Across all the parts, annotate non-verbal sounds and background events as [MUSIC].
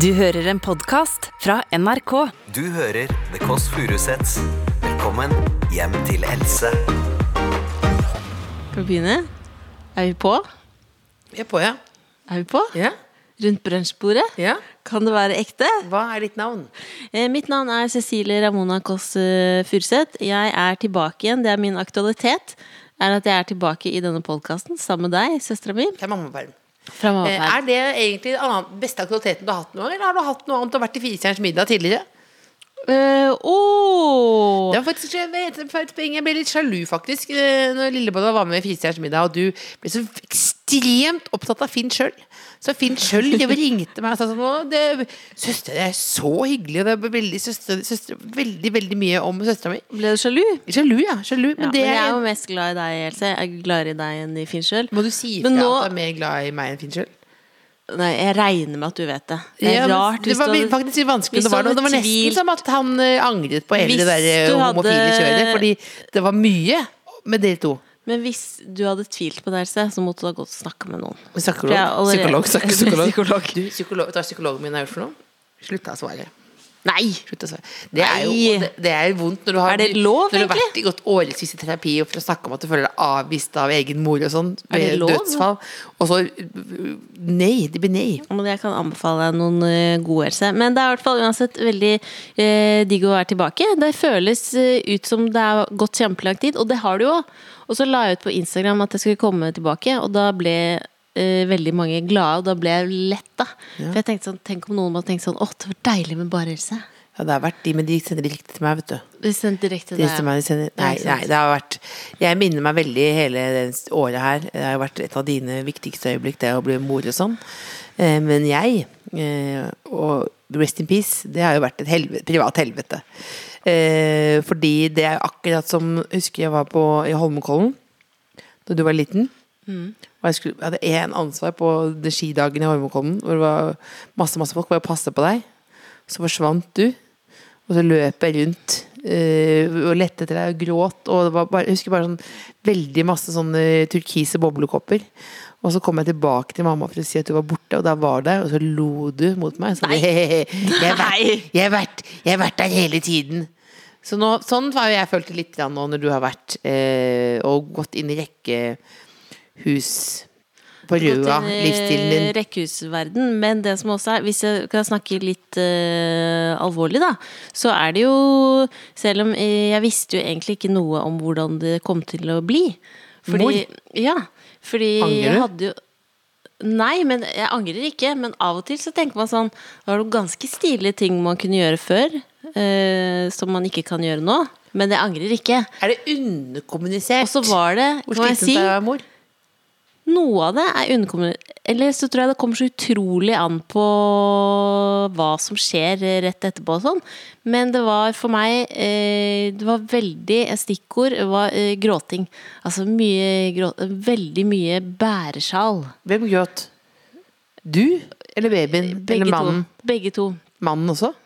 Du hører en podkast fra NRK. Du hører The Kåss Furuseths. Velkommen hjem til Else. Skal vi begynne? Er vi på? Vi er på, ja. Er vi på? ja. Rundt brunsjbordet? Ja. Kan det være ekte? Hva er ditt navn? Eh, mitt navn er Cecilie Ramona Kåss eh, Furuseth. Jeg er tilbake igjen. Det er min aktualitet. Er at jeg er tilbake i denne podkasten sammen med deg, søstera mi. Det er mammaperm. Fra Eh, Mammaperm. Er det egentlig den annen- beste aktiviteten du har hatt noen gang? Eller har du hatt noe annet og vært i Firestjerners middag tidligere? Eh, åh! Det var faktisk jeg vet, for et poeng. Jeg ble litt sjalu, faktisk, eh, når Lillebolla var med i Firestjerners middag, og du ble så ekstremt opptatt av Finn sjøl. Så Finn sjøl [LAUGHS] ringte meg og sa sånn «Å, det, 'Søster, det er så hyggelig.' Og det er veldig, søster, søster, veldig, veldig mye om søstera mi. Ble du sjalu? Sjalu, ja. Sjalu. Ja, Men det men jeg er er jo mest glad i deg, Else. Jeg er gladere i deg enn i Finn sjøl. Må du si ifra Men nå- at du er mer glad i meg enn Finn sjøl? Nei, jeg regner med at du vet det. Det er Ja, men rart det hvis var du hadde faktisk litt vanskelig. hvis Det du var, noe, hadde det var nesten tvilt- som at han eh, angret på hele Hvis det der eh, du hadde- homofile kjøret. Fordi det var mye med dere to. Men hvis du hadde tvilt på det, Else, så måtte du ha gått og snakka med noen. Psykolog. Ja, allerede- psykolog, [LAUGHS] psyk- psykolog. Psykolog. Du, psykolog. Vet du hva psykologen min har gjort for noe? Slutta å svare. Nei! Slutta å svare. Det er jo Nei. det, det er jo vondt når du har, Er det lov, når du har egentlig? vært i gått årevis i terapi og for å snakke om at du føler deg avvist av egen mor og sånn Er det ved lov? dødsfall. Og så uh, Nei, det blir nei. Men jeg kan anbefale deg noen eh, gode helse. Men det er i hvert fall uansett veldig eh, digg å være tilbake. Det føles eh, ut som det har gått kjempelang tid, og det har det jo òg. Og så la jeg ut på Instagram at jeg skulle komme tilbake, og da ble eh, veldig mange glade, og da ble jeg letta. For jeg tenkte sånn, tenk om noen hadde tenkt sånn, åh, det var deilig med bare helse. Ja, det har vært de, men de sender direkte til meg, vet du. Det sendte direkte til Det stemmer, deg. det stemmer. Nei, Ikke sant? nei, det har vært Jeg minner meg veldig hele det året her. Det har jo vært et av dine viktigste øyeblikk, det å bli mor og sånn. Eh, Men jeg, eh, og rest in peace, det har jo vært et helvete, privat helvete. Eh, Fordi det er akkurat som jeg Husker jeg var på, i Holmenkollen da du var liten. Mm. Og jeg, skulle, jeg hadde én ansvar på de skidagene i Holmenkollen, hvor det var masse, masse folk, hvor jeg passet på deg. Så forsvant du. Og så løp jeg rundt eh, og lette etter deg og gråt. Og det var bare, jeg husker bare sånn veldig masse sånne turkise boblekopper. Og så kom jeg tilbake til mamma for å si at du var borte, og da var du der. Og så lo du mot meg. Sånn, «Hehehe, jeg har vært, jeg har vært, jeg har vært der hele tiden. Så nå, sånn har jo jeg følt det litt grann nå når du har vært eh, og gått inn i rekkehus på Røa, Gått inn i livsstilen din. Rekkehusverden, men det som også er Hvis jeg kan snakke litt eh, alvorlig, da, så er det jo Selv om eh, jeg visste jo egentlig ikke noe om hvordan det kom til å bli. Mor? Ja. Fordi Angrer jeg du? hadde jo Nei, men jeg angrer ikke. Men av og til så tenker man sånn Det var noen ganske stilige ting man kunne gjøre før, eh, som man ikke kan gjøre nå. Men jeg angrer ikke. Er det underkommunisert? Og så var det, Hvor kan jeg slitsomt det si er å være mor? noe av det er underkommunisert. Eller så tror jeg det kommer så utrolig an på hva som skjer eh, rett etterpå og sånn. Men det var for meg eh, Det var veldig et stikkord var eh, gråting. Altså mye grå, Veldig mye bæresjal. Hvem gråt? Du eller babyen? Begge eller to. mannen? Begge to. Mannen også?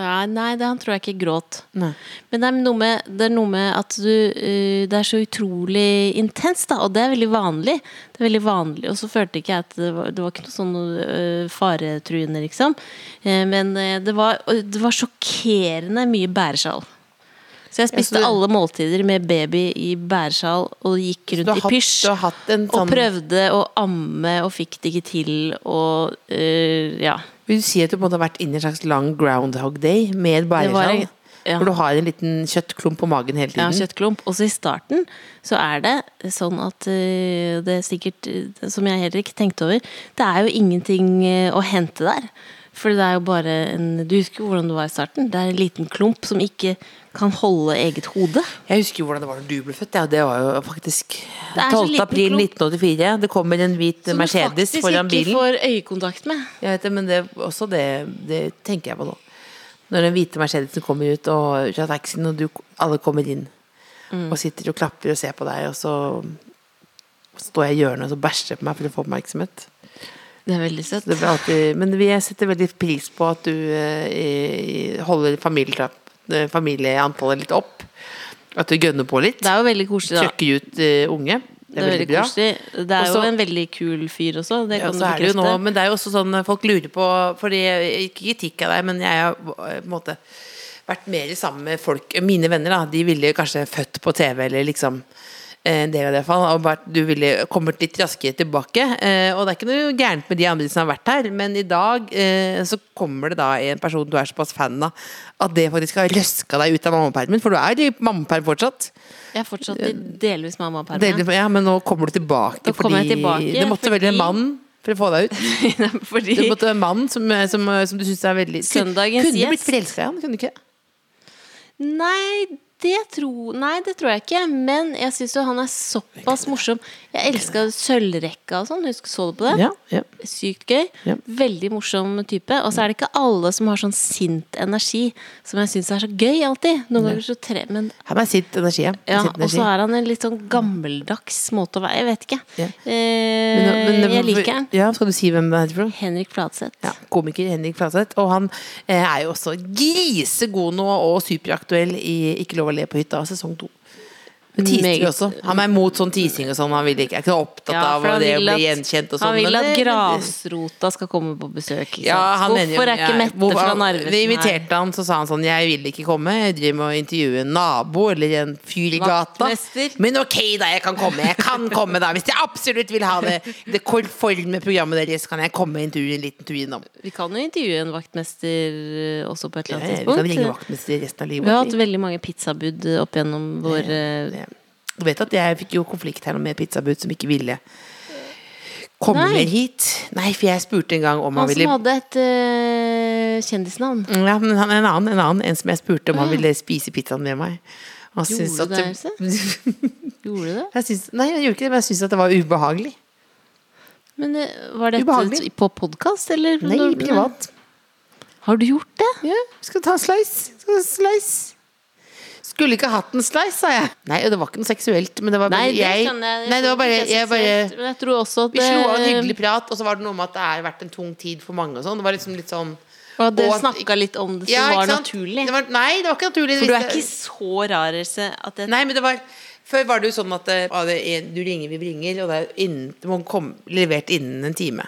Ja, nei, det, han tror jeg ikke gråt. Nei. Men det er noe med, det er noe med at du eh, Det er så utrolig intenst, da, og det er veldig vanlig. Det er veldig vanlig, Og så følte ikke jeg at det var, det var ikke noe sånn eh, faretruende, liksom. Eh, men eh, det, var, og det var sjokkerende mye bæresjal. Så jeg spiste du- alle måltider med baby i bæresjal og gikk du rundt har i hatt- pysj. du har hatt en sånn- Og prøvde å amme og fikk det ikke til og eh, Ja. Vil du si at du på en måte har vært inne i en slags lang groundhog day med Det var bæresjal? en- ja. Hvor du har en liten kjøttklump på magen hele Ja, tiden? kjøttklump. Også i starten så er det sånn at øh, det er sikkert øh, Som jeg heller ikke tenkte over. Det er jo ingenting øh, å hente der. For det er jo bare en Du husker jo hvordan det var i starten? Det er en liten klump som ikke kan holde eget hode. Jeg husker jo hvordan det var da du ble født. Ja, det var jo faktisk er så 12. liten april klump. 1984. Det kommer en hvit Som du Mercedes faktisk foran bilen. ikke får øyekontakt med. Jeg vet det, men det, også det, det tenker jeg på nå. Når den hvite Mercedesen kommer ut og, ut av taxien, og du, alle kommer inn Mm. og sitter og klapper og ser på deg, og så står jeg i hjørnet og så bæsjer jeg på meg for å få oppmerksomhet. Det er veldig søtt. Det blir alltid, men vi setter veldig pris på at du eh, i- holder familietrapp- eh, familieantallet litt opp. At du gønner på litt. Det er jo veldig koselig, da. Trykker ut eh, unge. Det er veldig bra. koselig. Det er Også- jo en veldig kul fyr også. Det Ja, kan så er du det jo nå, bekrefte. men det er jo også sånn folk lurer på Fordi Ikke kritikk av deg, men jeg har eh, på en måte vært mer sammen med folk Mine venner, da. De ville kanskje født på TV, eller liksom eh, en del av det i hvert fall. Og vært- du ville kommet litt raskere tilbake. eh, Og det er ikke noe gærent med de andre som har vært her, men i dag eh, så kommer det da en person du er såpass fan av, at det faktisk har røska deg ut av mammapermen. For du er i mammaperm fortsatt. Jeg er fortsatt i delvis mammaperm. Delvis- ja, men nå kommer du tilbake Nå kommer jeg tilbake, det måtte fordi- velge en mann for å få deg [LAUGHS] ut. Fordi Du måtte være en mann som, eh, som, som du syns er veldig Søndagens Kunne du gjest. blitt forelska i han? Kunne du ikke? Nei, det tror Nei, det tror jeg ikke. Men jeg syns jo han er såpass morsom. Jeg elska Sølvrekka og sånn. Husker så du på det? Ja, ja. Sykt gøy. Ja. Veldig morsom type. Og så er det ikke alle som har sånn sint energi, som jeg syns er så gøy alltid. Noen ganger så tre... Men Han er sitt energi, ja. ja, Sitt og så energi. er han en litt sånn gammeldags måte å være Jeg vet ikke. Ja. Eh, Men- men- jeg liker han. Ja, skal du si hvem det er fra? Henrik Fladseth. Ja, komiker Henrik Fladseth. Og han eh, er jo også grisegod nå og superaktuell i Ikke lov å le på hytta, sesong to. Men Teaser Meget. jo også. Han er mot sånn teasing og sånn. Han vil ikke, er ikke opptatt Ja, av for han det å vil bli at- gjenkjent og sånn. Han vil men at det- grasrota skal komme på besøk. Liksom. Ja, han mener jo- Hvorfor er ja, ikke Mette hvorfor- fra Vi Narvesen her? inviterte han, så sa han sånn Jeg vil ikke komme, jeg driver med å intervjue en nabo eller en fyr i gata. Vaktmester. Men ok da, jeg kan komme. Jeg kan komme da Hvis jeg absolutt vil ha det Det konforme programmet deres, kan jeg komme og intervjue en liten tur innom. Vi kan jo intervjue en vaktmester eh, også på et Ja, eller Vi annet kan tidspunkt. ringe vaktmester resten av livet. Vi har hatt veldig mange pizzabud opp gjennom vår eh, Ja. Du vet at jeg fikk jo konflikt her nå med et pizzabud som ikke ville komme Nei. hit. Nei, for jeg spurte en gang om han, Han ville som hadde et eh, kjendisnavn. Mm, Ja, men han, en, annen, en annen, en som jeg spurte om han ville spise pizzaen med meg. Han Ah. Gjorde syntes at du det, Gjorde du det? [LAUGHS] Jeg syns- nei, jeg gjorde ikke det, men jeg syntes at det var ubehagelig. Men eh, Var dette Ubehagelig. på podkast, eller? Nei, Når- privat. Har du gjort det? Ja, skal du ta en slice? Skal du ha en slice? Skulle ikke hatt en slice, sa jeg. Nei, og det var ikke noe seksuelt, men det var bare Nei, det jeg, skjønner jeg. Nei, det var bare, skjønner ikke jeg bare seksuelt, Men jeg tror også at Vi slo av en eh, hyggelig prat, og så var det noe med at det har vært en tung tid for mange og sånn. Det var liksom litt sånn Og at dere og at- snakka litt om det, så Ja, var ikke sant? naturlig. Det var, nei, det var ikke naturlig. For du er Hvis ikke det- så rar, Else, at jeg Nei, men det var Før var det jo sånn at eh, ah, det er- du ringer, vi bringer, og det er innen, det må komme levert innen en time.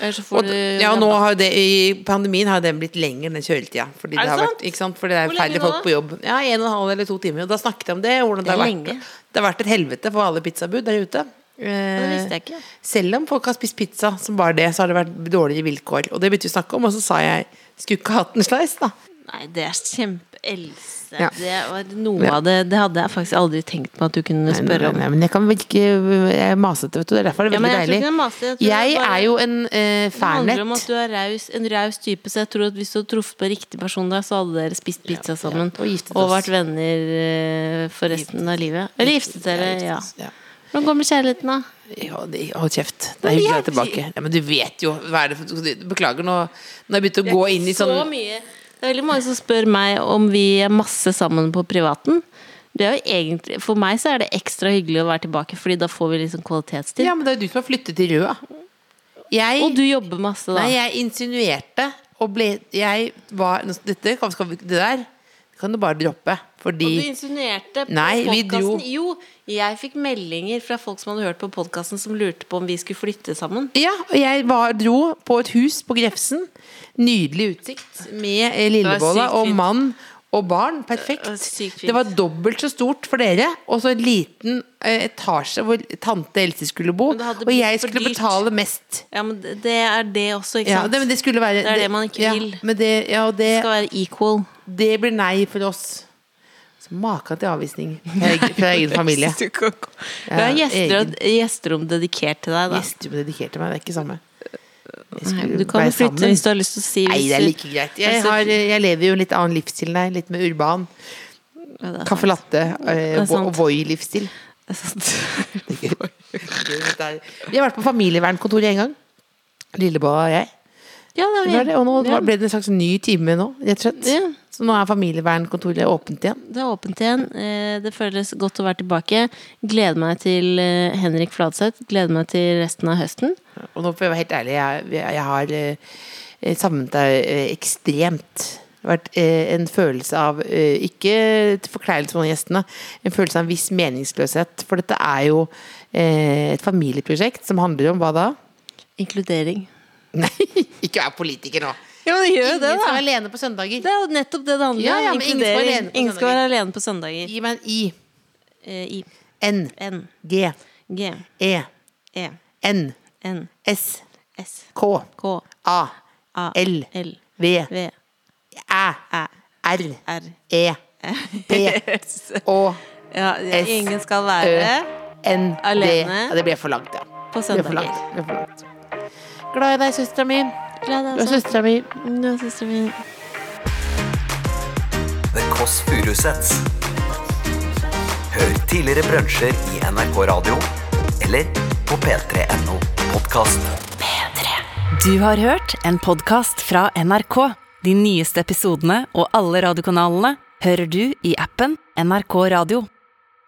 Ellers så får Og, du ja, og nå har jo det, I pandemien har den blitt lenger, den kjøletida. Fordi Er det, det har sant? vært, ikke sant? Fordi det er Hvor lenge nå, færre folk på jobb. Ja, En og en halv eller to timer. Og da snakket jeg om det. Hvordan det, Det er har lenge. vært, det har vært et helvete for alle pizzabud der ute. Eh, det visste jeg ikke. Selv om folk har spist pizza, som bare det, så har det vært dårligere vilkår. Og det begynte vi å snakke om, og så sa jeg skulle ikke hatt en slice, da. Nei, det er kjempe-Else. Ja. Det var noe Ja. av det Det hadde jeg faktisk aldri tenkt på at du kunne spørre om. Nei, men jeg kan vel ikke Jeg er masete, vet du. Det er derfor det er Ja, men veldig jeg tror ikke deilig. det er masete, jeg tror det Jeg er bare- er jo en eh, Det handler om at fanett. du er raus, en raus type, så jeg tror at hvis du hadde truffet på riktig person der, så hadde dere spist pizza sammen og giftet og oss. vært venner eh, for resten av livet. Eller giftet dere, ja. Ja. Hvordan går det med kjærligheten, da? Ja, det- Hold kjeft. Det er hyggelig å være tilbake. Ja, men du vet jo hva er det for, Beklager nå. Nå har jeg begynt å gå inn i sånn mye. Det er veldig mange som spør meg om vi er masse sammen på privaten. Det er jo egentlig, for meg så er det ekstra hyggelig å være tilbake, Fordi da får vi liksom kvalitetstid. Ja, men det er jo du som har flyttet til Røa. Jeg, Og du jobber masse, da. nei, jeg insinuerte og ble Jeg var nå- Dette kan, skal vi, det der kan du bare droppe. Fordi Og du insinuerte på Nei, vi podkasten dro- Jo, jeg fikk meldinger fra folk som hadde hørt på podkasten, som lurte på om vi skulle flytte sammen. Ja, og jeg var, dro på et hus på Grefsen. Nydelig utsikt med eh, lillebolla sykt og fint. mann og barn. Perfekt. Det var sykt fint. Det var dobbelt så stort for dere, og så en liten eh, etasje hvor tante Else skulle bo. Men det hadde Og jeg blitt for skulle dyrt. betale mest. Ja, men det det er det også, ikke Ja, sant? det, men det skulle være Det er det man ikke ja, vil. Men det, ja, og Det det, skal være equal. det blir nei for oss. Så Maken til avvisning fra egen, fra [LAUGHS] egen familie. Du kan gå- Vi har gjester, egen. gjesterom dedikert til deg, da. Gjester som dedikerte meg, det er ikke samme. Jeg Nei, skulle du kan være jo flytte sammen. hvis du har lyst til å si Nei, hvis det er du- like greit. Jeg, Altså, har, jeg lever jo en litt annen livsstil enn deg. Litt mer urban. Ja, det er Caffè latte eh, er og- sant. og Voi-livsstil. sant. [LAUGHS] Det er sant. Vi har vært på familievernkontoret en gang. Lillebolla og jeg. Ja, det Det er, var det, og nå ja, ble det en slags ny time nå, rett og Ja. slett. Så nå er familievernkontoret åpent igjen. det er åpent igjen. Eh, Det føles godt å være tilbake. Gleder meg til eh, Henrik Fladseth. Gleder meg til resten av høsten. Og nå får jeg være helt ærlig, jeg, jeg har eh, savnet deg eh, ekstremt. vært eh, en følelse av eh, Ikke til forkleinelse for noen av gjestene, en følelse av en viss meningsløshet. For dette er jo eh, et familieprosjekt som handler om hva da? [LAUGHS] Inkludering. Nei, ikke vær politiker nå! Ja, men gjør jo Ingen det, som er da. alene på søndager. Det er jo nettopp det det handler om. Ja, ja, men ingen skal inkludering. være alene på Ingen skal være alene på søndager. Gi meg en I. Eh, I. N. N. G. G. E. E. N. N. S. S. K. K. A. A. L. L. V. V. Æ. Æ. R. R. E. P. [LAUGHS] Å. Ja, ja, S. ingen skal være N. D. Alene. Ja, det ble for langt, ja. på Det ble for søndager. langt. Det ble for langt. Glad i deg, søstera mi. Glad Du er søstera mi. Du er søsteren min. The Kåss Furuseths. Hør tidligere brunsjer i NRK Radio eller på p3.no podkast. Du har hørt en podkast fra NRK. De nyeste episodene og alle radiokanalene hører du i appen NRK Radio.